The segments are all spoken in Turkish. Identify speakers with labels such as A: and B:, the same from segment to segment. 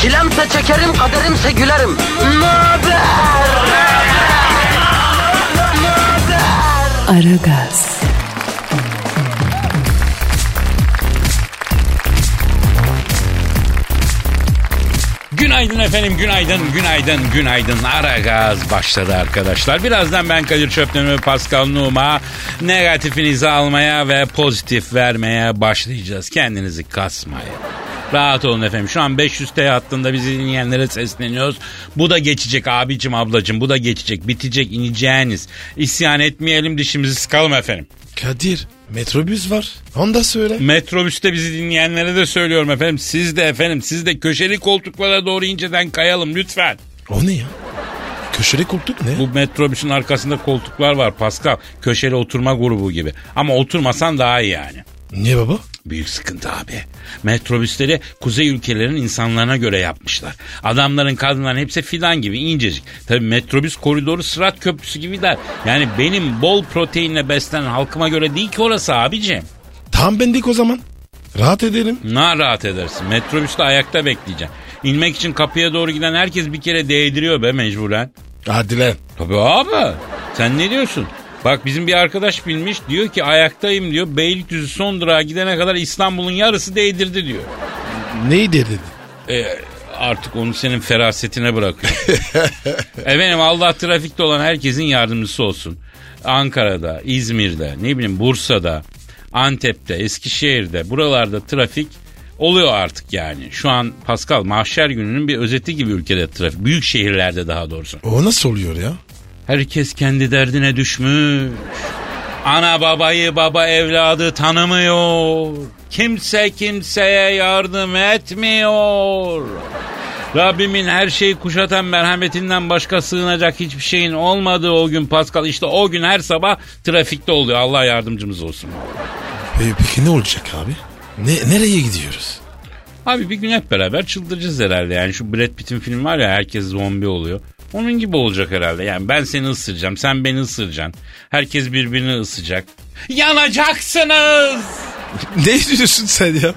A: Çilemse çekerim, kaderimse gülerim. Möber!
B: Aragaz,
C: Günaydın efendim, günaydın, günaydın, günaydın. Ara gaz başladı arkadaşlar. Birazdan ben Kadir Çöptemir ve Pascal Numa negatifinizi almaya ve pozitif vermeye başlayacağız. Kendinizi kasmayın. Rahat olun efendim. Şu an 500 T hattında bizi dinleyenlere sesleniyoruz. Bu da geçecek abicim ablacım. Bu da geçecek. Bitecek ineceğiniz. İsyan etmeyelim dişimizi sıkalım efendim.
D: Kadir metrobüs var. Onu da söyle.
C: Metrobüste bizi dinleyenlere de söylüyorum efendim. Siz de efendim siz de köşeli koltuklara doğru inceden kayalım lütfen.
D: O ne ya? Köşeli koltuk ne?
C: Bu metrobüsün arkasında koltuklar var Pascal. Köşeli oturma grubu gibi. Ama oturmasan daha iyi yani.
D: Niye baba?
C: Büyük sıkıntı abi. Metrobüsleri kuzey ülkelerinin insanlarına göre yapmışlar. Adamların kadınların hepsi fidan gibi incecik. Tabii metrobüs koridoru sırat köprüsü gibi dar. Yani benim bol proteinle beslenen halkıma göre değil ki orası abicim.
D: Tam bendik o zaman. Rahat edelim.
C: Ne rahat edersin. Metrobüste ayakta bekleyeceksin. İnmek için kapıya doğru giden herkes bir kere değdiriyor be mecburen.
D: Hadi lan.
C: Tabii abi. Sen ne diyorsun? Bak bizim bir arkadaş bilmiş diyor ki ayaktayım diyor. Beylikdüzü son durağa gidene kadar İstanbul'un yarısı değdirdi diyor.
D: Neyi dedi?
C: E, artık onu senin ferasetine bırakıyor. Efendim Allah trafikte olan herkesin yardımcısı olsun. Ankara'da, İzmir'de, ne bileyim Bursa'da, Antep'te, Eskişehir'de buralarda trafik oluyor artık yani. Şu an Pascal mahşer gününün bir özeti gibi ülkede trafik. Büyük şehirlerde daha doğrusu.
D: O nasıl oluyor ya?
C: Herkes kendi derdine düşmüş. Ana babayı baba evladı tanımıyor. Kimse kimseye yardım etmiyor. Rabbimin her şeyi kuşatan merhametinden başka sığınacak hiçbir şeyin olmadığı o gün Pascal işte o gün her sabah trafikte oluyor. Allah yardımcımız olsun.
D: E, peki ne olacak abi? Ne, nereye gidiyoruz?
C: Abi bir gün hep beraber çıldıracağız herhalde. Yani şu Brad Pitt'in filmi var ya herkes zombi oluyor. Onun gibi olacak herhalde. Yani ben seni ısıracağım, sen beni ısıracaksın. Herkes birbirini ısacak. Yanacaksınız!
D: ne diyorsun sen ya?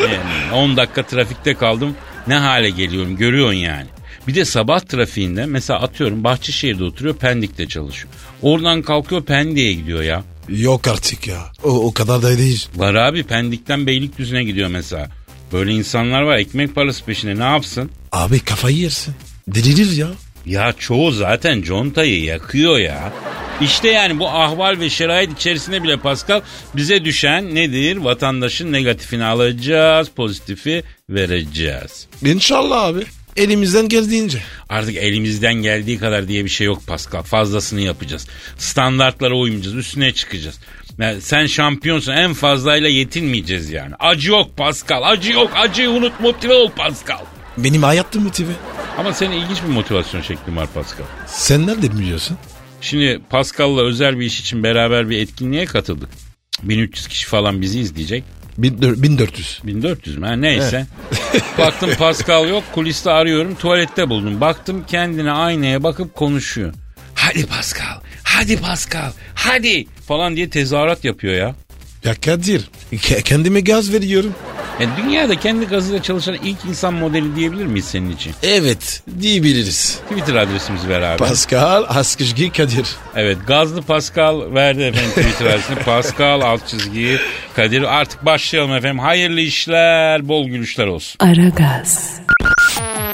C: Yani 10 dakika trafikte kaldım. Ne hale geliyorum görüyorsun yani. Bir de sabah trafiğinde mesela atıyorum Bahçeşehir'de oturuyor Pendik'te çalışıyor. Oradan kalkıyor Pendik'e gidiyor ya.
D: Yok artık ya. O, o kadar da değil.
C: Var abi Pendik'ten Beylikdüzü'ne gidiyor mesela. Böyle insanlar var ekmek parası peşinde ne yapsın?
D: Abi kafayı yersin. Delirir ya.
C: Ya çoğu zaten contayı yakıyor ya. İşte yani bu ahval ve şerait içerisinde bile Pascal bize düşen nedir? Vatandaşın negatifini alacağız, pozitifi vereceğiz.
D: İnşallah abi. Elimizden geldiğince.
C: Artık elimizden geldiği kadar diye bir şey yok Pascal. Fazlasını yapacağız. Standartlara uymayacağız, üstüne çıkacağız. Yani sen şampiyonsun en fazlayla yetinmeyeceğiz yani. Acı yok Pascal, acı yok. Acıyı unut, motive ol Pascal.
D: Benim hayatım motive.
C: Ama senin ilginç bir motivasyon şeklin var Pascal.
D: Sen nereden biliyorsun?
C: Şimdi Pascal'la özel bir iş için beraber bir etkinliğe katıldık. 1300 kişi falan bizi izleyecek.
D: 1400.
C: 1400 mü? Ha, neyse. Baktım Pascal yok. Kuliste arıyorum. Tuvalette buldum. Baktım kendine aynaya bakıp konuşuyor. Hadi Pascal. Hadi Pascal. Hadi falan diye tezahürat yapıyor ya.
D: Ya Kadir ke- kendime gaz veriyorum.
C: E, dünyada kendi gazıyla çalışan ilk insan modeli diyebilir miyiz senin için?
D: Evet diyebiliriz.
C: Twitter adresimizi ver abi.
D: Pascal Askışgi Kadir.
C: Evet gazlı Pascal verdi efendim Twitter adresini. Pascal alt çizgi Kadir. Artık başlayalım efendim. Hayırlı işler, bol gülüşler olsun.
B: Aragaz,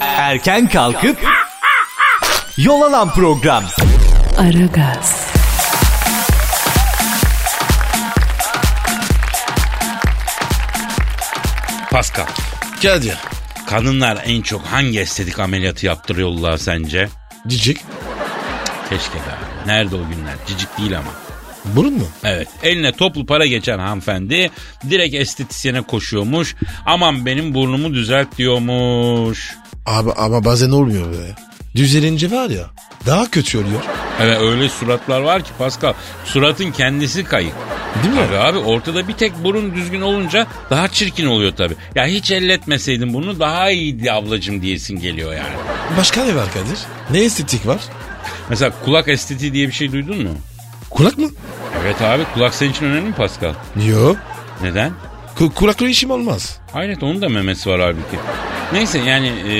E: Erken kalkıp yol alan program.
B: Aragaz,
C: Pascal,
D: Kadir.
C: kadınlar en çok hangi estetik ameliyatı yaptırıyorlar sence?
D: Cicik.
C: Keşke be. Nerede o günler? Cicik değil ama.
D: Burun mu?
C: Evet eline toplu para geçen hanımefendi direkt estetisyene koşuyormuş. Aman benim burnumu düzelt diyormuş.
D: Abi ama bazen olmuyor be. Düzelince var ya Daha kötü oluyor.
C: Evet öyle suratlar var ki Pascal. Suratın kendisi kayık.
D: Değil mi?
C: Tabii abi ortada bir tek burun düzgün olunca daha çirkin oluyor tabii. Ya hiç elletmeseydin bunu daha iyiydi ablacım diyesin geliyor yani.
D: Başka ne var Kadir? Ne estetik var?
C: Mesela kulak estetiği diye bir şey duydun mu?
D: Kulak mı?
C: Evet abi kulak senin için önemli mi Pascal?
D: Yok.
C: Neden?
D: Ku- kulakla işim olmaz.
C: Hayret onun da memesi var halbuki. Neyse yani e,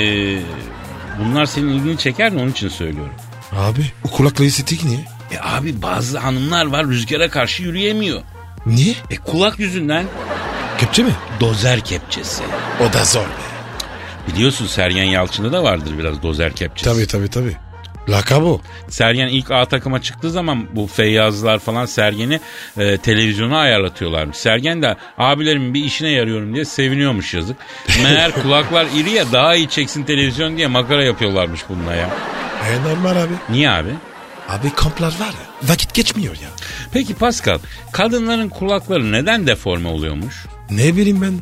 C: bunlar senin ilgini çeker de onun için söylüyorum.
D: Abi o kulakla estetik niye?
C: E abi bazı hanımlar var rüzgara karşı yürüyemiyor.
D: Niye?
C: E kulak yüzünden
D: Kepçe mi?
C: dozer kepçesi.
D: O da zor be.
C: Biliyorsun Sergen Yalçın'da da vardır biraz dozer kepçesi.
D: Tabii tabii tabii. Lakabo.
C: Sergen ilk A takıma çıktığı zaman bu Feyyazlar falan Sergen'i e, televizyona ayarlatıyorlarmış. Sergen de abilerimin bir işine yarıyorum diye seviniyormuş yazık. Meğer kulaklar iri ya daha iyi çeksin televizyon diye makara yapıyorlarmış bununla ya.
D: E normal abi.
C: Niye abi?
D: Abi kamplar var ya. Vakit geçmiyor ya.
C: Peki Pascal kadınların kulakları neden deforme oluyormuş?
D: Ne bileyim ben.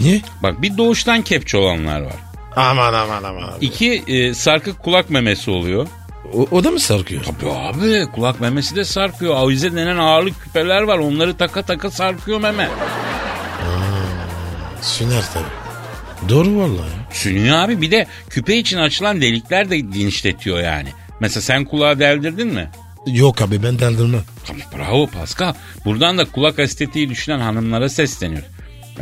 D: Niye?
C: Bak bir doğuştan kepçe olanlar var.
D: Aman aman aman abi.
C: İki e, sarkık kulak memesi oluyor.
D: O, o da mı sarkıyor?
C: Tabii abi kulak memesi de sarkıyor. Avize denen ağırlık küpeler var onları taka taka sarkıyor meme.
D: Süner tabii. Doğru vallahi.
C: Sünüyor abi bir de küpe için açılan delikler de genişletiyor yani. Mesela sen kulağı deldirdin mi?
D: Yok abi ben deldirmem.
C: Tabii bravo Pascal. Buradan da kulak estetiği düşünen hanımlara sesleniyor.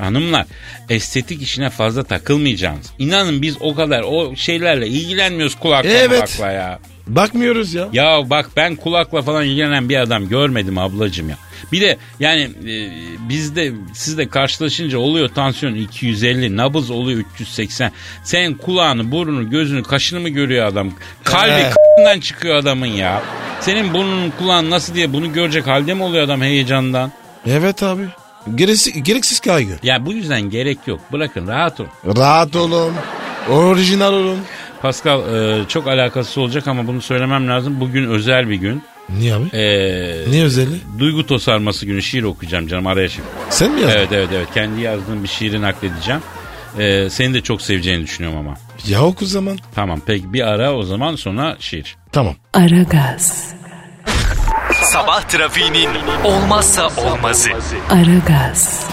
C: Hanımlar estetik işine fazla takılmayacaksınız. İnanın biz o kadar o şeylerle ilgilenmiyoruz kulakla
D: Evet.
C: kulakla ya.
D: Bakmıyoruz ya.
C: Ya bak ben kulakla falan ilgilenen bir adam görmedim ablacım ya. Bir de yani e, bizde sizde karşılaşınca oluyor tansiyon 250, nabız oluyor 380. Sen kulağını, burnunu, gözünü, kaşını mı görüyor adam? Kalbi
D: Ee.
C: k***dan çıkıyor adamın ya. Senin burnunun kulağın nasıl diye bunu görecek halde mi oluyor adam heyecandan?
D: Evet abi. Gerisi, gereksiz kaygı.
C: Ya bu yüzden gerek yok. Bırakın rahat olun.
D: Rahat olun. Orijinal olun.
C: Pascal e, çok alakası olacak ama bunu söylemem lazım. Bugün özel bir gün.
D: Niye abi?
C: E,
D: Niye özelliği?
C: Duygu tosarması günü şiir okuyacağım canım araya şimdi.
D: Sen mi yazdın?
C: Evet evet evet kendi yazdığım bir şiiri nakledeceğim. Ee, seni de çok seveceğini düşünüyorum ama.
D: Ya oku zaman.
C: Tamam peki bir ara o zaman sonra şiir.
D: Tamam.
B: Aragaz,
E: Sabah trafiğinin olmazsa olmazı.
B: Aragaz,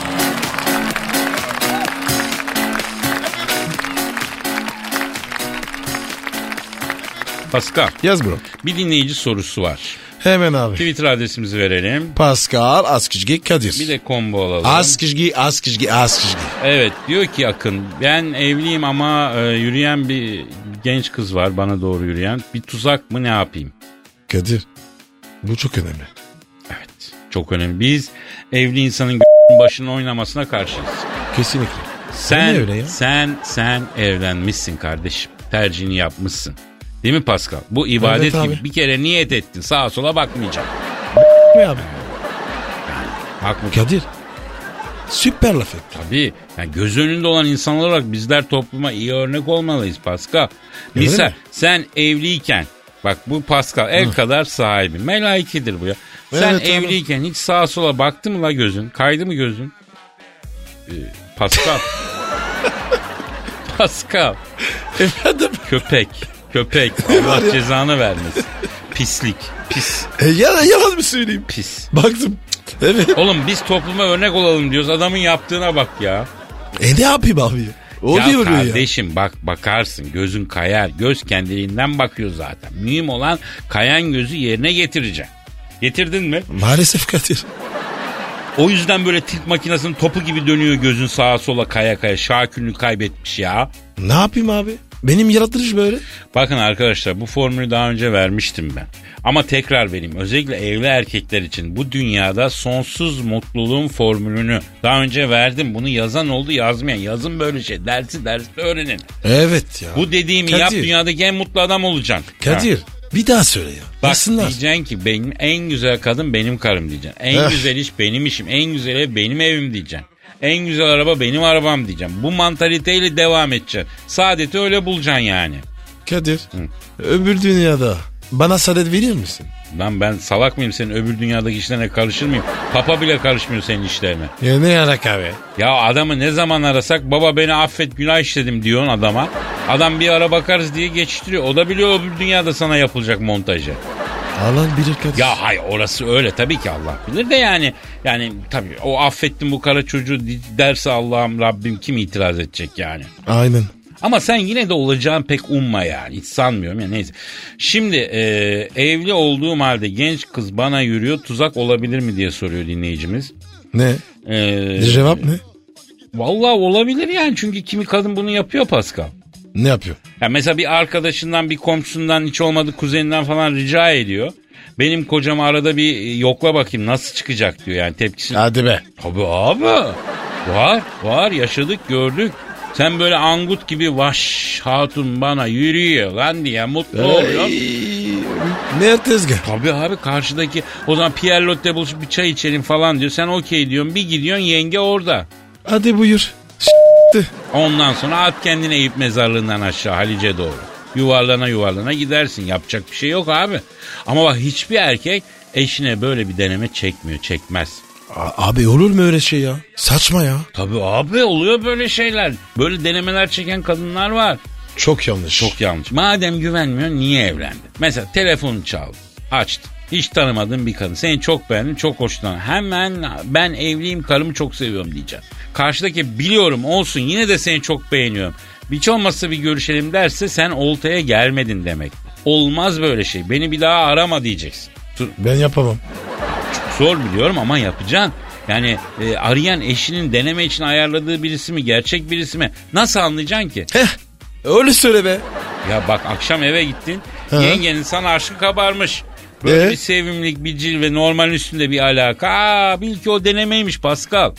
C: Pascal
D: Yaz bro.
C: bir dinleyici sorusu var.
D: Hemen abi.
C: Twitter adresimizi verelim.
D: Pascal Askizgi Kadir.
C: Bir de combo alalım.
D: Askizgi Askizgi Askizgi.
C: Evet diyor ki Akın ben evliyim ama e, yürüyen bir genç kız var bana doğru yürüyen. Bir tuzak mı ne yapayım?
D: Kadir. Bu çok önemli.
C: Evet çok önemli. Biz evli insanın başının oynamasına karşıyız.
D: Kesinlikle.
C: Sen
D: Ne öyle ya?
C: sen sen evlenmişsin kardeşim. Tercihini yapmışsın. Değil mi Pascal? Bu ibadet
D: Evet abi.
C: gibi bir kere niyet ettin. Sağa sola bakmayacaksın.
D: abi?
C: Haklı.
D: Kadir. Süper laf etti.
C: Tabii. Yani göz önünde olan insanlar olarak bizler topluma iyi örnek olmalıyız Pascal.
D: Öyle
C: Misal
D: mi?
C: sen evliyken bak bu Pascal ev kadar sahibi. Melaikedir bu ya. Sen
D: Evet abi.
C: evliyken hiç sağa sola baktı mı la gözün? Kaydı mı gözün? Ee, Pascal. Pascal.
D: Efendim?
C: Köpek. Köpek. Allah cezanı vermesin. Pislik. Pis.
D: E, yalan, yalan mı söyleyeyim?
C: Pis.
D: Baktım. Evet.
C: Oğlum biz topluma örnek olalım diyoruz. Adamın yaptığına bak ya.
D: E ne yapayım abi? O
C: ya
D: diyor ya.
C: kardeşim bak bakarsın gözün kayar. Göz kendiliğinden bakıyor zaten. Mühim olan kayan gözü yerine getireceksin. Getirdin mi?
D: Maalesef Kadir.
C: O yüzden böyle tilt makinesinin topu gibi dönüyor gözün sağa sola kaya kaya. Şakülünü kaybetmiş ya.
D: Ne yapayım abi? Benim yaratılış böyle.
C: Bakın arkadaşlar bu formülü daha önce vermiştim ben. Ama tekrar vereyim. Özellikle evli erkekler için bu dünyada sonsuz mutluluğun formülünü daha önce verdim. Bunu yazan oldu yazmayan. Yazın böyle şey. Dersi derste öğrenin.
D: Evet ya.
C: Bu dediğimi
D: Kadir.
C: yap dünyadaki en mutlu adam olacaksın. Ha.
D: Kadir bir daha söyle ya.
C: Bak
D: Basınlar.
C: diyeceksin ki benim en güzel kadın benim karım diyeceksin. En
D: Eh.
C: güzel iş benim işim. En güzel ev benim evim diyeceksin. En güzel araba benim arabam diyeceksin. Bu mantaliteyle devam edeceksin. Saadeti öyle bulacaksın yani.
D: Kadir öbür dünyada bana saadet verir misin?
C: Lan ben salak mıyım senin öbür dünyadaki işlerine karışır mıyım? Papa bile karışmıyor senin işlerine.
D: Ya ne yarak abi?
C: Ya adamı ne zaman arasak baba beni affet günah işledim diyorsun adama. Adam bir ara bakarız diye geçiştiriyor. O da biliyor öbür dünyada sana yapılacak montajı.
D: Alan bilir kadın.
C: Ya hay orası öyle tabii ki Allah bilir de yani yani tabii o affettim bu kara çocuğu derse Allah'ım Rabbim kim itiraz edecek yani.
D: Aynen.
C: Ama sen yine de olacağını pek umma yani. Hiç sanmıyorum ya neyse. Şimdi e, evli olduğum halde genç kız bana yürüyor tuzak olabilir mi diye soruyor dinleyicimiz.
D: Ne?
C: E,
D: Cevap ne?
C: Vallahi olabilir yani çünkü kimi kadın bunu yapıyor Pascal.
D: Ne yapıyor?
C: Ya mesela bir arkadaşından, bir komşusundan, hiç olmadı kuzeninden falan rica ediyor. Benim kocam arada bir e, yokla bakayım nasıl çıkacak diyor yani tepkisini.
D: Hadi be.
C: Tabii abi. Var, var yaşadık gördük. Sen böyle angut gibi vaş hatun bana yürüyor lan diye mutlu oluyor.
D: Ne tezgah?
C: Tabii abi karşıdaki o zaman Pierre Lotte buluşup bir çay içelim falan diyor. Sen okey diyorsun bir gidiyorsun yenge orada.
D: Hadi buyur.
C: Ondan sonra at kendini Eyüp mezarlığından aşağı Halice doğru. Yuvarlana yuvarlana gidersin. Yapacak bir şey yok abi. Ama bak hiçbir erkek eşine böyle bir deneme çekmiyor, çekmez.
D: A- abi olur mu öyle şey ya? Saçma ya.
C: Tabii abi oluyor böyle şeyler. Böyle denemeler çeken kadınlar var.
D: Çok yanlış.
C: Çok yanlış. Madem güvenmiyor niye evlendin? Mesela telefon çaldı. Açtı. Hiç tanımadığın bir kadın. Seni çok beğendim, çok hoşlandım. Hemen ben evliyim, karımı çok seviyorum diyeceğim. Karşıdaki biliyorum olsun yine de seni çok beğeniyorum. Hiç olmazsa bir görüşelim derse sen oltaya gelmedin demek. Olmaz böyle şey. Beni bir daha arama diyeceksin. Dur,
D: Ben yapamam.
C: Zor biliyorum ama yapacaksın. Yani e, arayan eşinin deneme için ayarladığı birisi mi, gerçek birisi mi? Nasıl anlayacaksın ki?
D: Heh. Öyle söyle be.
C: Ya bak akşam eve gittin.
D: Hı.
C: Yengenin sana aşkı kabarmış. Böyle
D: Ee?
C: bir sevimlilik, bir cilve, normal üstünde bir alaka. Aa, bil ki o denemeymiş Pascal.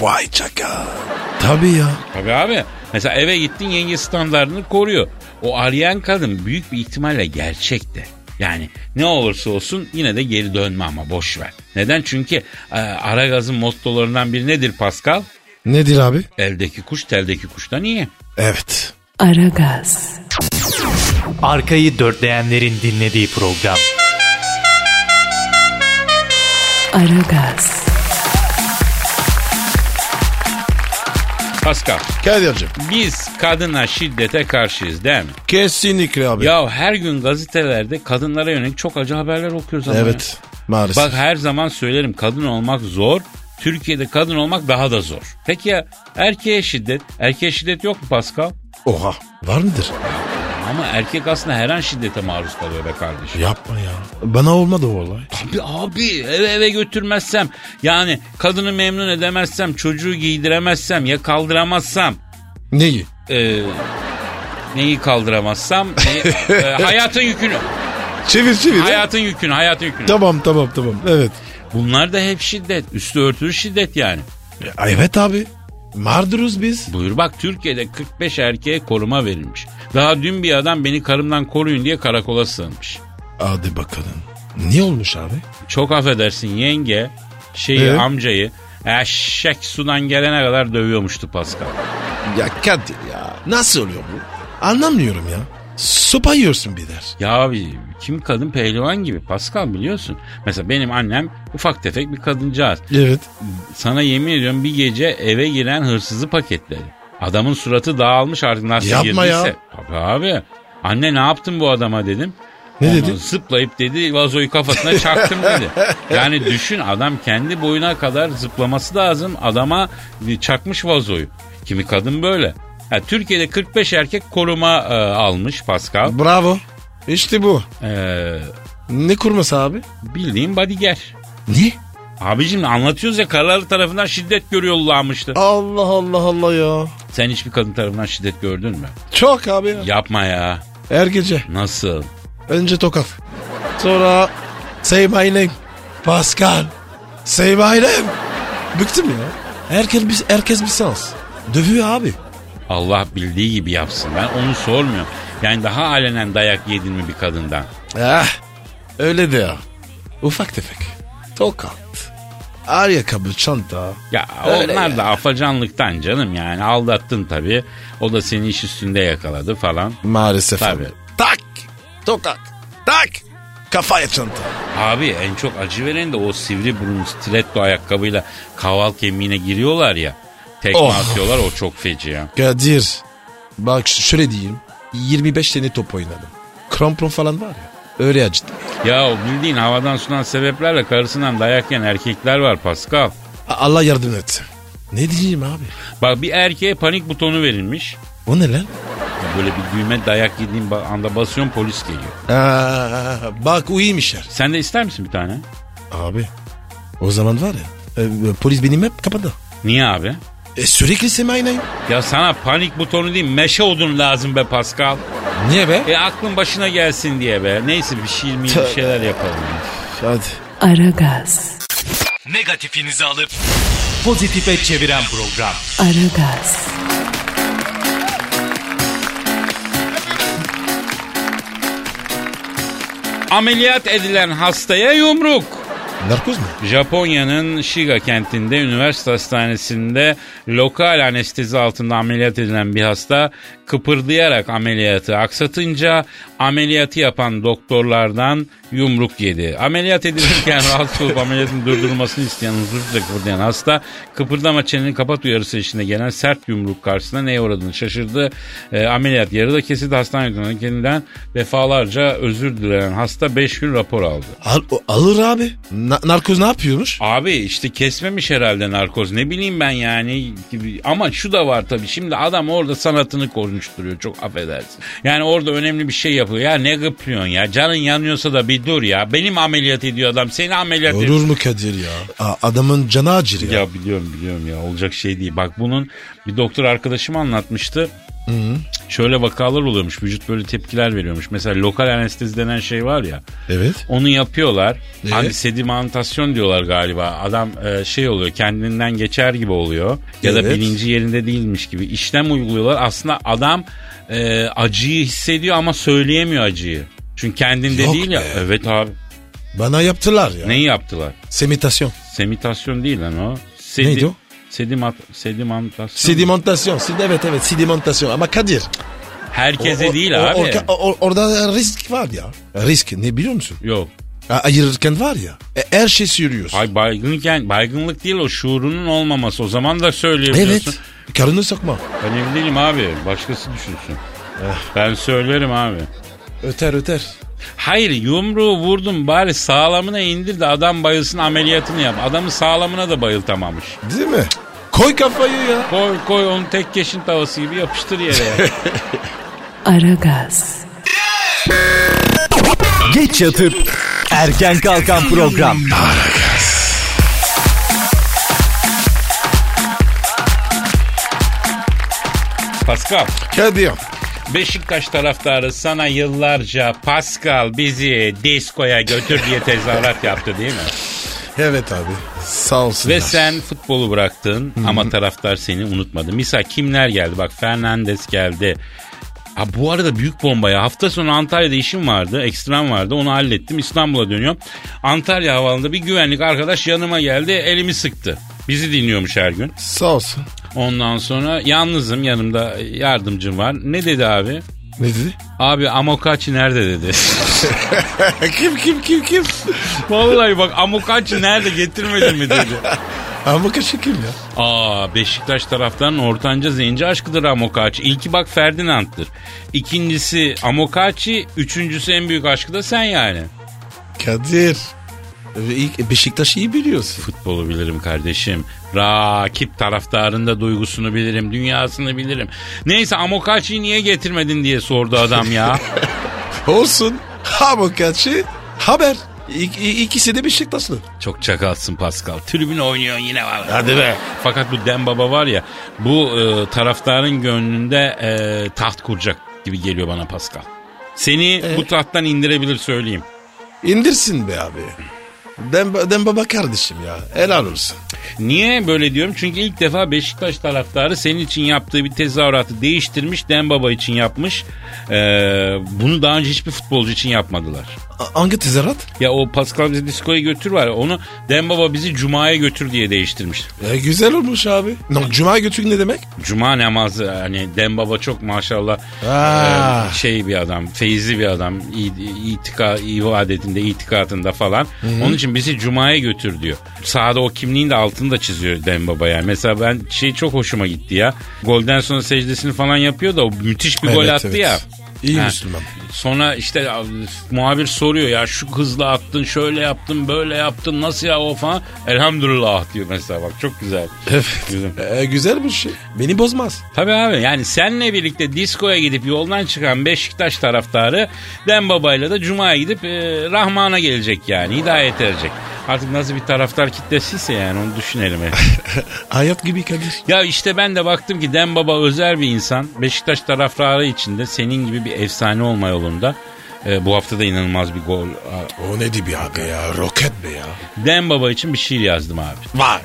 D: Vay çaka. Tabii ya.
C: Tabii abi. Mesela eve gittin yenge standartını koruyor. O arayan kadın büyük bir ihtimalle gerçekti. Yani ne olursa olsun yine de geri dönme ama boş ver. Neden? Çünkü e, Aragaz'ın mottolarından biri nedir Pascal?
D: Nedir abi?
C: Eldeki kuş teldeki kuştan iyi.
D: Evet.
B: Aragaz,
E: Arkayı dörtleyenlerin dinlediği program.
B: Aragaz,
C: Pascal
D: Kadir'cim.
C: biz kadına şiddete karşıyız değil mi?
D: Kesinlikle abi.
C: Ya her gün gazetelerde kadınlara yönelik çok acı haberler okuyoruz ama.
D: Evet. Maalesef.
C: ya. Bak her zaman söylerim kadın olmak zor. Türkiye'de kadın olmak daha da zor. Peki ya erkeğe şiddet? Erkeğe şiddet yok mu Pascal?
D: Oha. Var mıdır?
C: Ama erkek aslında her an şiddete maruz kalıyor be kardeşim.
D: Yapma ya. Bana olmadı o olay.
C: Abi, abi eve eve götürmezsem yani kadını memnun edemezsem çocuğu giydiremezsem ya kaldıramazsam
D: Neyi?
C: e, neyi kaldıramazsam e, e, hayatın yükünü
D: Çevir çevir.
C: hayatın yükünü hayatın yükünü.
D: Tamam tamam tamam. Evet.
C: Bunlar da hep şiddet. Üstü örtülü şiddet yani.
D: E, Evet abi. Mağduruz biz.
C: Buyur bak Türkiye'de 45 erkeğe koruma verilmiş. Daha dün bir adam beni karımdan koruyun diye karakola sığınmış.
D: Hadi bakalım. Niye olmuş abi?
C: Çok affedersin yenge şeyi
D: Ee?
C: amcayı eşek sudan gelene kadar dövüyormuştu Pascal.
D: Ya Kadir ya. Nasıl oluyor bu? Anlamıyorum ya. Sopa yiyorsun bir der.
C: Ya abi kim kadın pehlivan gibi Pascal biliyorsun. Mesela benim annem ufak tefek bir kadıncağız.
D: Evet.
C: Sana yemin ediyorum bir gece eve giren hırsızı paketledi. Adamın suratı dağılmış artık nasıl
D: Yapma ya.
C: girdiyse. Tabii abi. Anne ne yaptın bu adama dedim.
D: Ne
C: Ondan
D: dedi?
C: Zıplayıp dedi vazoyu kafasına çaktım dedi. Yani düşün adam kendi boyuna kadar zıplaması lazım. Adama çakmış vazoyu. Kimi kadın böyle. Ha, Türkiye'de 45 erkek koruma e, almış Pascal.
D: Bravo. İşte bu.
C: E,
D: Ne kurması abi?
C: bildiğin bodyguard.
D: Ne?
C: Abicim anlatıyoruz ya kararlı tarafından şiddet görüyorlarmıştı.
D: Allah Allah Allah ya.
C: Sen hiçbir kadın tarafından şiddet gördün mü?
D: Çok abi ya.
C: Yapma ya.
D: Her gece.
C: Nasıl?
D: Önce tokat. Sonra say my name. Pascal. Say my name. Bıktım ya. Herkes bir, herkes bir sans. Dövüyor abi.
C: Allah bildiği gibi yapsın. Ben onu sormuyorum. Yani daha alenen dayak yedin mi bir kadından?
D: Eh, öyle de ya. Ufak tefek. Tokat. Ayakkabı, çanta.
C: Ya
D: Öyle
C: onlar
D: ya.
C: da afacanlıktan canım yani aldattın tabii. O da seni iş üstünde yakaladı falan.
D: Maalesef
C: Tabii.
D: abi. Tak. Tokat. Tak. Kafaya çanta.
C: Abi en çok acı veren de o sivri burun stiletto ayakkabıyla kaval kemiğine giriyorlar ya. Tekme
D: Oh.
C: atıyorlar o çok feci ya.
D: Kadir bak ş- şöyle diyeyim. 25 tane top oynadım. Krampon falan var ya. Öyle acıttı.
C: Ya o bildiğin havadan sudan sebeplerle karısından dayak yiyen erkekler var Pascal.
D: A- Allah yardım etsin. Ne diyeyim abi?
C: Bak bir erkeğe panik butonu verilmiş.
D: O ne lan?
C: Ya Böyle bir düğme dayak yediğin ba- anda basıyorsun polis geliyor.
D: Aa, bak o iyiymiş her.
C: Sen de ister misin bir tane?
D: Abi o zaman var ya. e, polis benim hep kapadı.
C: Niye abi?
D: E, sürekli semaynayım.
C: Ya sana panik butonu değil meşe odun lazım be Pascal.
D: Niye be?
C: E aklın başına gelsin diye be. Neyse bir şiir mi bir şeyler yapalım. ya.
D: Hadi.
B: Aragaz,
E: Negatifinizi alıp pozitife çeviren program.
B: Aragaz,
C: Ameliyat edilen hastaya yumruk.
D: Narkoz mu?
C: Japonya'nın Shiga kentinde üniversite hastanesinde lokal anestezi altında ameliyat edilen bir hasta kıpırdayarak ameliyatı aksatınca ameliyatı yapan doktorlardan yumruk yedi. Ameliyat edilirken rahatsız olup ameliyatın durdurulmasını isteyen huzursuzca kıpırdayan hasta kıpırdama çeneni kapat uyarısı içinde gelen sert yumruk karşısında neye uğradığını şaşırdı. E, ameliyat yarıda kesildi. Hastane yönetmeni kendinden defalarca özür dileyen hasta 5 gün rapor aldı.
D: Al, o- alır abi. Na- narkoz ne yapıyormuş?
C: Abi işte kesmemiş herhalde narkoz ne bileyim ben yani gibi. ama şu da var tabii şimdi adam orada sanatını konuşturuyor çok affedersin. Yani orada önemli bir şey yapıyor ya ne gıplıyorsun ya canın yanıyorsa da bir dur ya benim ameliyat ediyor adam seni ameliyat ediyor.
D: Olur mu Kadir ya? A- adamın canı acır ya.
C: Ya biliyorum biliyorum ya olacak şey değil. Bak bunun bir doktor arkadaşım anlatmıştı. Şöyle vakalar oluyormuş vücut böyle tepkiler veriyormuş. Mesela lokal anestezi denen şey var ya.
D: Evet.
C: Onu yapıyorlar.
D: Ee?
C: Hani sedimentasyon diyorlar galiba. Adam e, şey oluyor kendinden geçer gibi oluyor. Ya da
D: Evet.
C: bilinci yerinde değilmiş gibi. İşlem uyguluyorlar. Aslında adam e, acıyı hissediyor ama söyleyemiyor acıyı. Çünkü kendinde
D: Yok
C: değil ya.
D: be.
C: Evet abi.
D: Bana yaptılar ya.
C: Neyi yaptılar?
D: Semitasyon.
C: Semitasyon değil lan o. Sedi,
D: Neydi o?
C: Sedimat, sedimentasyon.
D: Sedimentasyon. Sid- evet evet sedimentasyon. Ama Kadir.
C: Herkese
D: o- o-
C: değil
D: o-
C: abi.
D: orka- o- orada risk var ya. Risk ne biliyor musun?
C: Yok.
D: A- ayırırken var ya. e, her şey sürüyorsun.
C: Ay baygınken baygınlık değil o şuurunun olmaması. O zaman da söyleyemiyorsun.
D: evet. Karını sokma.
C: Ben evli değilim abi. Başkası düşünsün. Ben söylerim abi.
D: Öter öter.
C: Hayır yumruğu vurdum bari sağlamına indir de adam bayılsın ameliyatını yap. Adamı sağlamına da bayıltamamış.
D: Değil mi? Koy kafayı ya.
C: Koy koy onu tek keşin tavası gibi yapıştır yere. ya.
B: Aragaz,
E: Geç yatıp erken kalkan program.
C: Pascal
D: Kadir.
C: Beşiktaş taraftarı sana yıllarca Pascal bizi diskoya götür diye tezahürat yaptı değil mi?
D: Evet abi. Sağ olsun.
C: Ve sen futbolu bıraktın ama taraftar seni unutmadı. Misal kimler geldi? Bak Fernandes geldi. Ha, bu arada büyük bomba ya. Hafta sonu Antalya'da işim vardı. Ekstrem vardı. Onu hallettim. İstanbul'a dönüyorum. Antalya havalında bir güvenlik arkadaş yanıma geldi. Elimi sıktı. Bizi dinliyormuş her gün.
D: Sağ olsun.
C: Ondan sonra yalnızım yanımda yardımcım var. Ne dedi abi?
D: Ne dedi?
C: Abi Amokachi nerede dedi.
D: kim kim kim kim?
C: Vallahi bak Amokachi nerede getirmedin mi dedi.
D: Ama kaşı kim ya?
C: Aa Beşiktaş taraftarının ortanca zenci aşkıdır Amokachi. İlki bak Ferdinand'dır. İkincisi Amokachi, üçüncüsü en büyük aşkı da sen yani.
D: Kadir. İlk Beşiktaş'ı iyi biliyorsun.
C: Futbolu bilirim kardeşim. Rakip taraftarın da duygusunu bilirim, dünyasını bilirim. Neyse Amokachi'yi niye getirmedin diye sordu adam ya.
D: Olsun. Ama kaçı haber. İk, i- ikisi de Beşiktaşlı.
C: Çok çakalsın Pascal. Tribün oynuyorsun yine var. Hadi be. Fakat bu Dem Baba var ya bu e, taraftarın gönlünde e, taht kuracak gibi geliyor bana Pascal. Seni bu tahttan indirebilir söyleyeyim.
D: İndirsin be abi. Dem, dem baba kardeşim ya. Helal olsun.
C: Niye böyle diyorum? Çünkü ilk defa Beşiktaş taraftarı senin için yaptığı bir tezahüratı değiştirmiş. Dem Baba için yapmış. E, bunu daha önce hiçbir futbolcu için yapmadılar.
D: A- hangi tezahürat?
C: Ya o Pascal bizi diskoya götür var ya onu Dem Baba bizi Cuma'ya götür diye değiştirmiş.
D: E, güzel olmuş abi. No, Cuma götürün ne demek?
C: Cuma namazı hani Dem Baba çok maşallah
D: Ah.
C: e, şey bir adam, feyizli bir adam. i- itika, ibadetinde, itikadında falan. Onun için bizi Cuma'ya götür diyor. Sahada o kimliğin de altını da çiziyor Dem Baba yani. Mesela ben şey çok hoşuma gitti ya. Golden sonra secdesini falan yapıyor da o müthiş bir gol
D: Evet,
C: attı
D: evet.
C: ya.
D: İyi
C: Ha.
D: Müslüman.
C: Sonra işte muhabir soruyor ya şu hızla attın şöyle yaptın böyle yaptın nasıl ya o falan. Elhamdülillah diyor mesela bak çok güzel.
D: Evet.
C: Güzel.
D: E, güzel bir şey. Beni bozmaz.
C: Tabii abi yani senle birlikte diskoya gidip yoldan çıkan Beşiktaş taraftarı Dem Baba'yla da Cuma'ya gidip e, Rahman'a gelecek yani hidayet erecek. Artık nasıl bir taraftar kitlesiyse yani onu düşünelim. hep.
D: Hayat gibi Kadir.
C: ya işte ben de baktım ki Dem Baba özel bir insan. Beşiktaş taraftarı içinde senin gibi bir efsane olma yolunda. E, bu hafta da inanılmaz bir gol.
D: O ne dibi abi ya? Roket be ya.
C: Dem Baba için bir şiir yazdım abi.
D: Vay.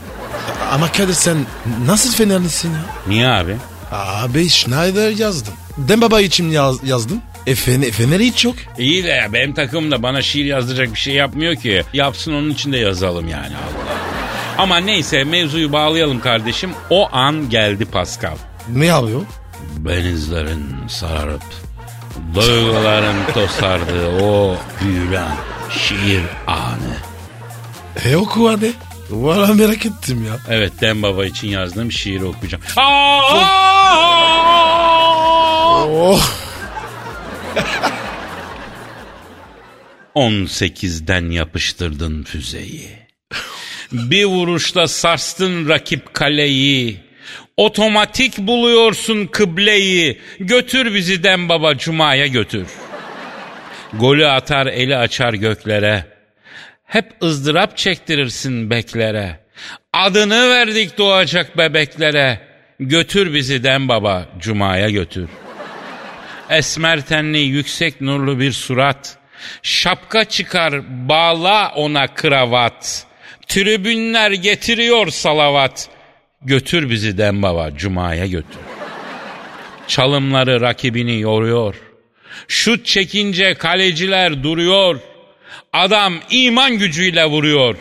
D: Ama Kadir sen nasıl fenerlisin ya?
C: Niye abi?
D: Abi Schneider yazdım. Dem Baba için yaz- yazdım. E, Fener, Fener'i hiç yok.
C: İyi de ya benim takım da bana şiir yazdıracak bir şey yapmıyor ki. Yapsın onun için de yazalım yani Allah. Ama neyse mevzuyu bağlayalım kardeşim. O an geldi Pascal.
D: Ne yapıyor?
C: Benizlerin sararıp duyguların tosardığı o büyülen şiir anı.
D: E oku hadi. Valla merak ettim ya.
C: Evet Dem Baba için yazdığım şiiri okuyacağım. Aa!
D: Oh.
C: 18'den yapıştırdın füzeyi. Bir vuruşla sarstın rakip kaleyi. Otomatik buluyorsun kıbleyi. Götür bizi Dem Baba Cuma'ya götür. Golü atar eli açar göklere. Hep ızdırap çektirirsin beklere. Adını verdik doğacak bebeklere. Götür bizi Dem Baba Cuma'ya götür. Esmer tenli yüksek nurlu bir surat. Şapka çıkar bağla ona kravat. Tribünler getiriyor salavat. Götür bizi Dembaba Cuma'ya götür. Çalımları rakibini yoruyor. Şut çekince kaleciler duruyor. Adam iman gücüyle vuruyor.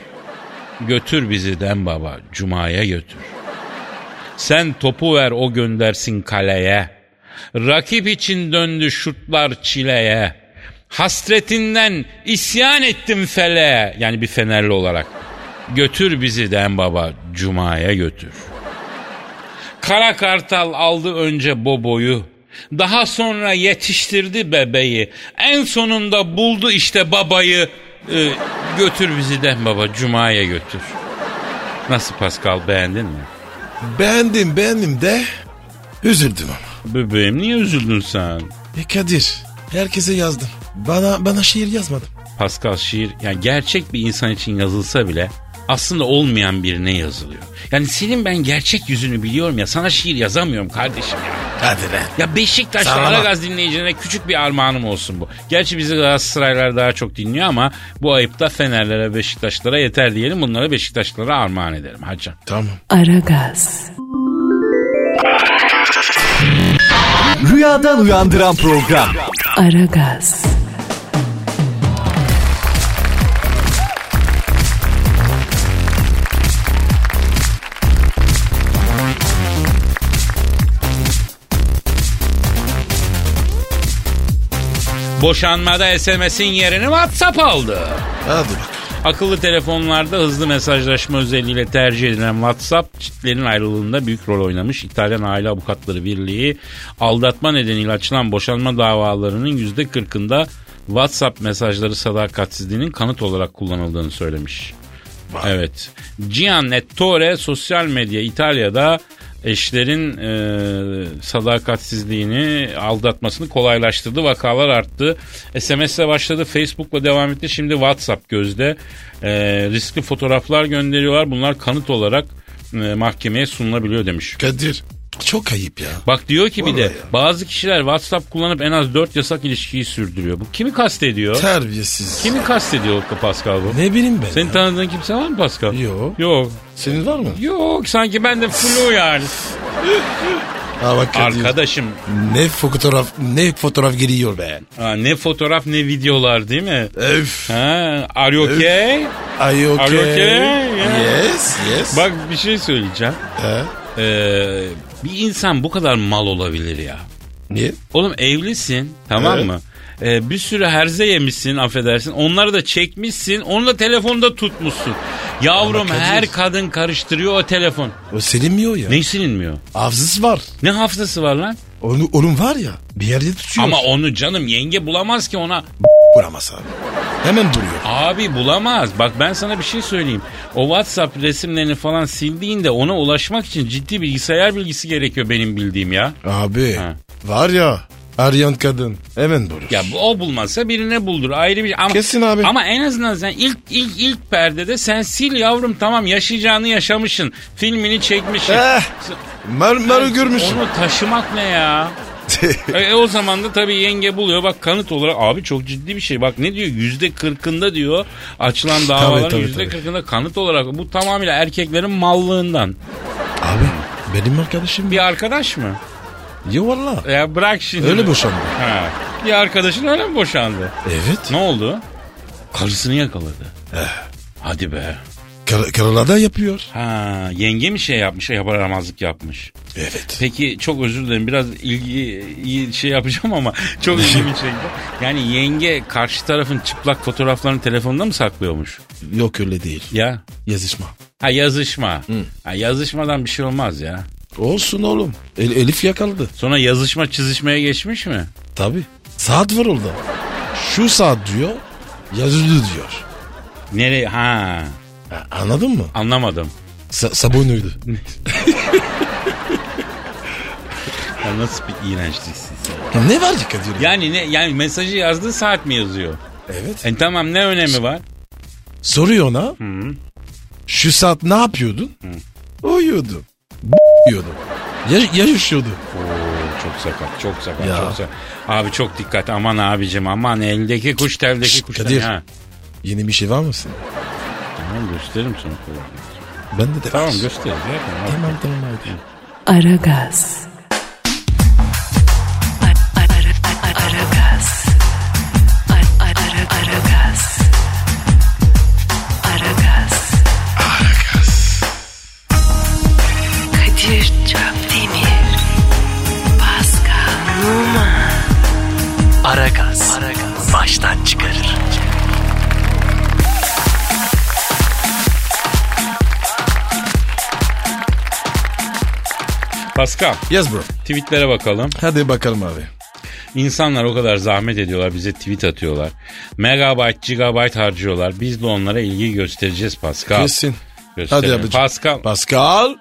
C: Götür bizi Dembaba Cuma'ya götür. Sen topu ver o göndersin kaleye. Rakip için döndü şutlar çileye. Hasretinden isyan ettim fele. Yani bir Fenerli olarak. Götür bizi den baba Cuma'ya götür. Kara Kartal aldı önce Bobo'yu. Daha sonra yetiştirdi bebeği. En sonunda buldu işte babayı. Ee, götür bizi den baba Cuma'ya götür. Nasıl Pascal beğendin mi?
D: Beğendim beğendim de üzüldüm ama.
C: Bebeğim niye üzüldün sen?
D: E Kadir herkese yazdım. Bana bana şiir yazmadım.
C: Pascal şiir yani gerçek bir insan için yazılsa bile aslında olmayan birine yazılıyor. Yani senin ben gerçek yüzünü biliyorum ya sana şiir yazamıyorum kardeşim ya.
D: Hadi be.
C: Ya Beşiktaşlı
D: Sağ ol.
C: Aragaz dinleyicilerine küçük bir armağanım olsun bu. Gerçi bizi Galatasaraylar daha çok dinliyor ama bu ayıp da Fenerlere Beşiktaşlara yeter diyelim. Bunları Beşiktaşlara armağan edelim hacı.
D: Tamam.
B: Aragaz,
E: Rüyadan uyandıran program.
B: Aragaz,
C: Boşanmada SMS'in yerini WhatsApp aldı.
D: Hadi bak.
C: Akıllı telefonlarda hızlı mesajlaşma özelliğiyle tercih edilen WhatsApp çiftlerin ayrılığında büyük rol oynamış. İtalyan Aile Avukatları Birliği aldatma nedeniyle açılan boşanma davalarının %40'ında WhatsApp mesajları sadakatsizliğinin kanıt olarak kullanıldığını söylemiş. Evet. Gian Ettore sosyal medya İtalya'da eşlerin e, sadakatsizliğini aldatmasını kolaylaştırdı. Vakalar arttı. SMS'le başladı. Facebook'la devam etti. Şimdi WhatsApp gözde. E, riskli fotoğraflar gönderiyorlar. Bunlar kanıt olarak e, mahkemeye sunulabiliyor demiş.
D: Kadir çok ayıp ya.
C: Bak diyor ki bir de
D: Vallahi ya.
C: bazı kişiler WhatsApp kullanıp en az 4 yasak ilişkiyi sürdürüyor. Bu kimi kastediyor?
D: Terbiyesiz.
C: Kimi kastediyor Pascal bu?
D: Ne bileyim ben.
C: Senin
D: ya.
C: tanıdığın kimse var mı Pascal?
D: Yok.
C: Yok.
D: Senin var mı?
C: Yok sanki ben de flu yani.
D: Ha bak Kadir,
C: Arkadaşım
D: Ne fotoğraf ne fotoğraf geliyor be.
C: ha, ne fotoğraf ne videolar değil mi?
D: Öf.
C: Ha, are you okay?
D: Are you okay?
C: Are you okay? Yeah.
D: Yes yes.
C: Bak bir şey söyleyeceğim.
D: Ha,
C: Ee, bir insan bu kadar mal olabilir ya.
D: niye?
C: Oğlum evlisin tamam
D: Evet.
C: mı? Ee, bir sürü herze yemişsin affedersin. Onları da çekmişsin. Onu da telefonda tutmuşsun. Yavrum
D: Kadir.
C: her kadın karıştırıyor o telefon.
D: O selinmiyor ya.
C: Ne silinmiyor?
D: Avzısı var.
C: Ne hafızası var lan?
D: Onu, onun var ya bir yerde tutuyor.
C: Ama onu canım yenge bulamaz ki ona.
D: Bulamaz abi. Hemen duruyor.
C: Abi bulamaz. Bak ben sana bir şey söyleyeyim. O WhatsApp resimlerini falan sildiğinde ona ulaşmak için ciddi bilgisayar bilgisi gerekiyor benim bildiğim ya.
D: Abi
C: Ha.
D: var ya arayan kadın hemen durur.
C: Ya bu- o bulmazsa birine buldur. Ayrı bir şey. ama
D: Kesin abi.
C: Ama en azından sen ilk ilk ilk perdede sen sil yavrum tamam yaşayacağını yaşamışsın. Filmini çekmişsin.
D: Eh,
C: S-
D: Marmara'yı görmüşsün.
C: Onu taşımak ne ya? E, e, o zaman da tabii yenge buluyor. Bak kanıt olarak abi çok ciddi bir şey. Bak ne diyor? Yüzde kırkında diyor. Açılan davaların
D: tabii,
C: yüzde
D: tabii.
C: kırkında kanıt olarak. Bu tamamıyla erkeklerin mallığından.
D: abi benim arkadaşım
C: Bir arkadaş mı?
D: ya valla.
C: Ya bırak şimdi.
D: Öyle boşandı.
C: Ha. Bir arkadaşın öyle mi boşandı?
D: Evet.
C: Ne oldu? Karısını yakaladı.
D: Eh.
C: Hadi be.
D: Kar- karılarda yapıyor.
C: Ha, yenge mi şey yapmış, yaramazlık yapmış.
D: Evet.
C: Peki çok özür dilerim biraz ilgi iyi şey yapacağım ama çok ilgimi çekti. Yani yenge karşı tarafın çıplak fotoğraflarını telefonda mı saklıyormuş?
D: Yok öyle değil.
C: Ya.
D: Yazışma.
C: Ha yazışma. Ha, yazışmadan bir şey olmaz ya.
D: Olsun oğlum. El- Elif yakaladı.
C: Sonra yazışma çizişmeye geçmiş mi?
D: Tabi. Saat var orada. Şu saat diyor. Yazılı diyor.
C: Nereye? Ha
D: Ha, anladın mı?
C: anlamadım.
D: Sa- sabunuydu.
C: Ya nasıl bir iğrençliksin sen?
D: ne var ki Kadir?
C: Yani ne yani mesajı yazdığı saat mi yazıyor?
D: Evet.
C: E tamam ne önemi var?
D: Soruyor ona. Şu saat ne yapıyordun? Uyuyordum. B- yiyordum. Ya- yarışıyordu.
C: Oo, çok sakat, çok sakat,
D: Ya.
C: çok sakat. Abi çok dikkat, aman abicim, aman eldeki kuş tevdeki
D: Şşt,
C: kuş.
D: Kadir.
C: Ha.
D: Yeni bir şey var mısın?
C: Tamam gösteririm sana. kulağını.
D: Ben de de
C: Tamam
D: var.
C: gösteririm. Yapma, abi.
D: Tamam tamam haydi.
B: Aragaz. Ara- ara- ara- Aragaz. Ara- ara- Aragaz. Aragaz. Kadir Çöptemir. Pascal Numa.
E: Aragaz. Baştan çıkarır.
C: Pascal,
D: Yes bro.
C: tweetlere bakalım.
D: Hadi bakalım abi.
C: İnsanlar o kadar zahmet ediyorlar, bize tweet atıyorlar. Megabyte, gigabyte harcıyorlar. Biz de onlara ilgi göstereceğiz Pascal.
D: Kesin.
C: Gösterelim.
D: Hadi abicim.
C: Pascal.
D: Pascal.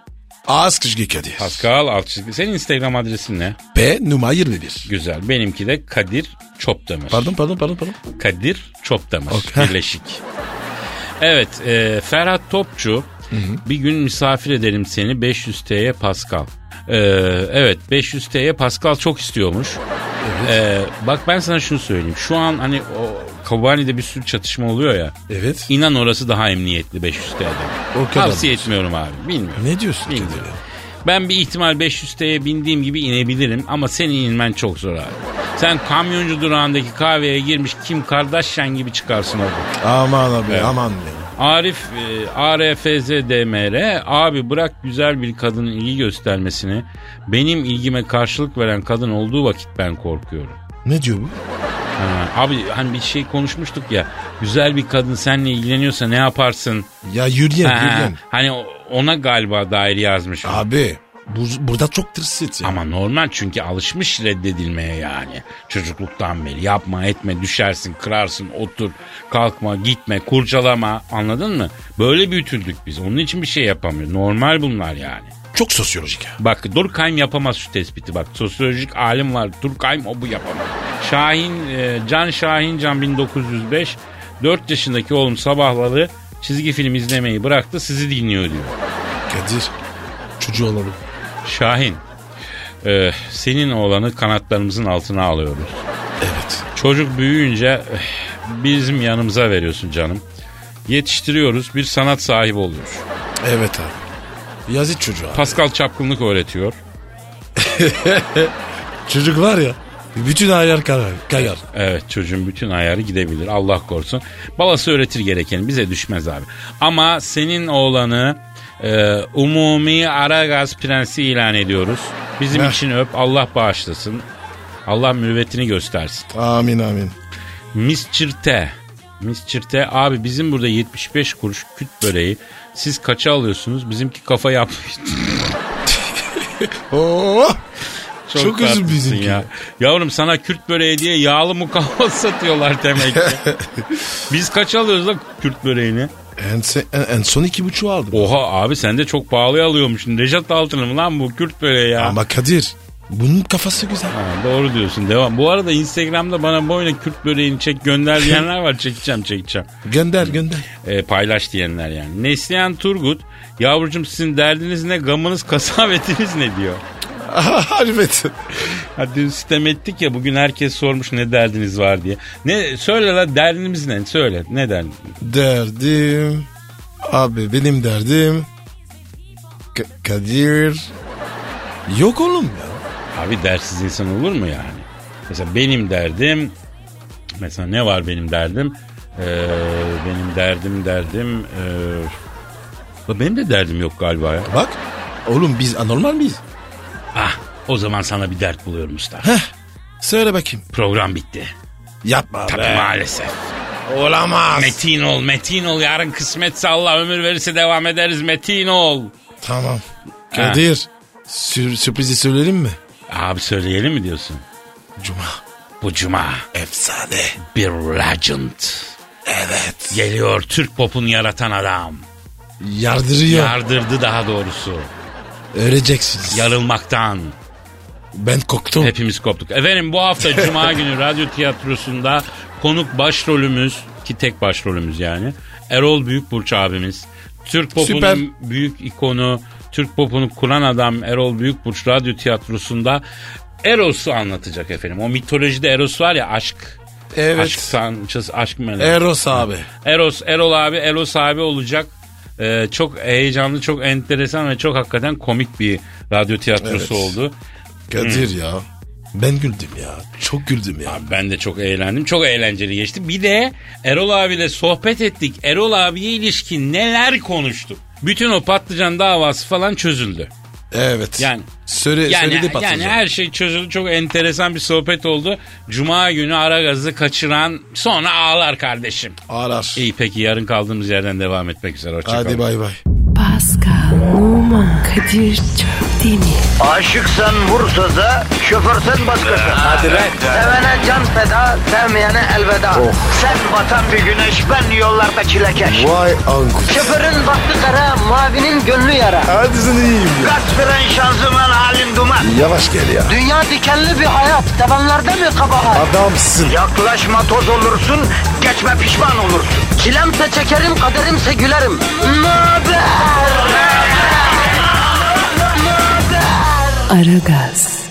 D: Az kışkı Kadir.
C: Pascal alt çizgi. Senin Instagram adresin ne?
D: P numara 21.
C: Güzel. Benimki de Kadir Çopdemir.
D: Pardon pardon pardon pardon.
C: Kadir Çopdemir.
D: Ok.
C: Birleşik. Evet e, Ferhat Topçu bir gün misafir edelim seni 500 TL'ye Pascal. E, evet 500 TL'ye Pascal çok istiyormuş. E, bak ben sana şunu söyleyeyim. Şu an hani o Kobani'de bir sürü çatışma oluyor ya.
D: Evet.
C: İnan orası daha emniyetli 500 TL'den.
D: O kadar
C: Tavsiye etmiyorum abi. Bilmiyorum.
D: Ne diyorsun
C: Bilmiyorum.
D: Kadir ya?
C: Ben bir ihtimal 500 TL'ye bindiğim gibi inebilirim ama senin inmen çok zor abi. Sen kamyoncu durağındaki kahveye girmiş Kim Kardashian gibi çıkarsın orada.
D: Aman abi
C: Evet.
D: aman be.
C: Arif e, ARFZDMR abi bırak güzel bir kadının ilgi göstermesini. Benim ilgime karşılık veren kadın olduğu vakit ben korkuyorum.
D: Ne diyor bu?
C: Ha, abi hani bir şey konuşmuştuk ya. Güzel bir kadın seninle ilgileniyorsa ne yaparsın?
D: Ya yürüyen
C: Ha,
D: yürüyen.
C: hani o- ona galiba dair yazmış.
D: Abi bu, burada çok tırsit ya.
C: Ama normal çünkü alışmış reddedilmeye yani. Çocukluktan beri yapma etme düşersin kırarsın otur kalkma gitme kurcalama anladın mı? Böyle büyütüldük biz onun için bir şey yapamıyoruz normal bunlar yani.
D: Çok sosyolojik ya.
C: Bak Durkheim yapamaz şu tespiti bak sosyolojik alim var Durkheim o bu yapamaz. Şahin e, Can Şahin Can 1905 4 yaşındaki oğlum sabahları çizgi film izlemeyi bıraktı sizi dinliyor diyor.
D: Kadir çocuğu alalım.
C: Şahin e, senin oğlanı kanatlarımızın altına alıyoruz.
D: Evet.
C: Çocuk büyüyünce eh, bizim yanımıza veriyorsun canım. Yetiştiriyoruz bir sanat sahibi oluyor.
D: Evet abi. Yazık çocuğa.
C: Pascal çapkınlık öğretiyor.
D: Çocuk var ya bütün ayar kayar. kayar.
C: Evet çocuğun bütün ayarı gidebilir Allah korusun. Babası öğretir gerekeni bize düşmez abi. Ama senin oğlanı e, umumi Aragaz prensi ilan ediyoruz. Bizim
D: Heh.
C: için öp Allah bağışlasın. Allah mürüvvetini göstersin.
D: Amin amin.
C: Miss Çirte. Miss Çirte abi bizim burada 75 kuruş küt böreği. Siz kaça alıyorsunuz? Bizimki kafa yapmış.
D: Oo.
C: Çok,
D: Çok üzüm
C: tatlısın
D: bizimki.
C: ya. Yavrum sana Kürt böreği diye yağlı mukavva satıyorlar demek ki. Biz kaç alıyoruz la Kürt böreğini?
D: En, se- en, en son iki buçuğu aldım.
C: Oha abi sen de çok pahalıya alıyormuşsun. Reşat Altın'ı mı lan bu Kürt böreği ya?
D: Ama Kadir bunun kafası güzel.
C: Ha, doğru diyorsun devam. Bu arada Instagram'da bana boyuna Kürt böreğini çek gönder diyenler var. Çekeceğim çekeceğim.
D: Gönder gönder.
C: E, paylaş diyenler yani. Neslihan Turgut yavrucum sizin derdiniz ne gamınız kasavetiniz ne diyor.
D: Harbet.
C: Ha, dün sitem ettik ya bugün herkes sormuş ne derdiniz var diye. Ne söyle la derdiniz ne söyle ne derdin?
D: Derdim. Abi benim derdim. Ka- Kadir. Yok oğlum ya.
C: Abi dersiz insan olur mu yani? Mesela benim derdim mesela ne var benim derdim? Ee, benim derdim derdim ee, la benim de derdim yok galiba ya.
D: Bak oğlum biz anormal miyiz?
C: Ah o zaman sana bir dert buluyorum usta.
D: Söyle bakayım.
C: Program bitti.
D: Yapma
C: Tabii
D: be.
C: maalesef.
D: Olamaz.
C: Metin ol, metin ol. Yarın kısmetse Allah ömür verirse devam ederiz. Metin ol.
D: Tamam. Kadir. sür- sürprizi söyleyelim mi?
C: Abi söyleyelim mi diyorsun?
D: Cuma.
C: Bu cuma
D: Efsane.
C: bir legend.
D: Evet.
C: Geliyor Türk popunu yaratan adam.
D: Yardırıyor.
C: Yardırdı daha doğrusu.
D: Öreceksiniz.
C: Yarılmaktan.
D: ben koktum.
C: Hepimiz koptuk. Efendim bu hafta Cuma günü radyo tiyatrosunda konuk başrolümüz ki tek başrolümüz yani Erol Büyükburç abimiz. Türk popunun
D: Süper.
C: büyük ikonu, Türk popunu kuran adam Erol Büyükburç radyo tiyatrosunda Eros'u anlatacak efendim. O mitolojide Eros var ya aşk.
D: Evet. Er-
C: Aşk sançası, aşk meleği.
D: Eros abi.
C: Eros, Erol abi, Eros abi olacak. Ee, çok heyecanlı, çok enteresan ve çok hakikaten komik bir radyo tiyatrosu
D: Evet.
C: oldu.
D: Kadir
C: Hmm.
D: ya. Ben güldüm ya. Çok güldüm ya.
C: Ben de çok eğlendim. Çok eğlenceli geçti. Bir de Erol abiyle sohbet ettik. Erol abiye ilişkin neler konuştuk. Bütün o patlıcan davası falan çözüldü.
D: Evet.
C: Yani-
D: Söyle,
C: Yani,
D: söyledi patlıcan.
C: yani her şey çözüldü. Çok enteresan bir sohbet oldu. Cuma günü ara gazı kaçıran sonra ağlar kardeşim.
D: Ağlar.
C: İyi peki yarın kaldığımız yerden devam etmek üzere.
D: Hadi
C: Hoşçakalın.
D: bay bay.
B: Pascal, Oman, Kadir çok değil mi?
A: Aşıksan vursa da, şoförsen
D: Ee,
A: başkasın. Hadi Sevene can feda, sevmeyene elveda.
D: Oh.
A: Sen batan bir güneş, ben yollarda çilekeş.
D: Vay anku.
A: Şoförün baktı kara, mavinin gönlü yara.
D: Hadi sen iyiyim ya.
A: Kasperen şanzıman halin duman.
D: Yavaş gel ya.
A: Dünya dikenli bir hayat, sevenlerde mi kabahar?
D: Adamsın.
A: Yaklaşma toz olursun, geçme pişman olursun. Çilemse çekerim, kaderimse gülerim. Möber!
B: Aragaz.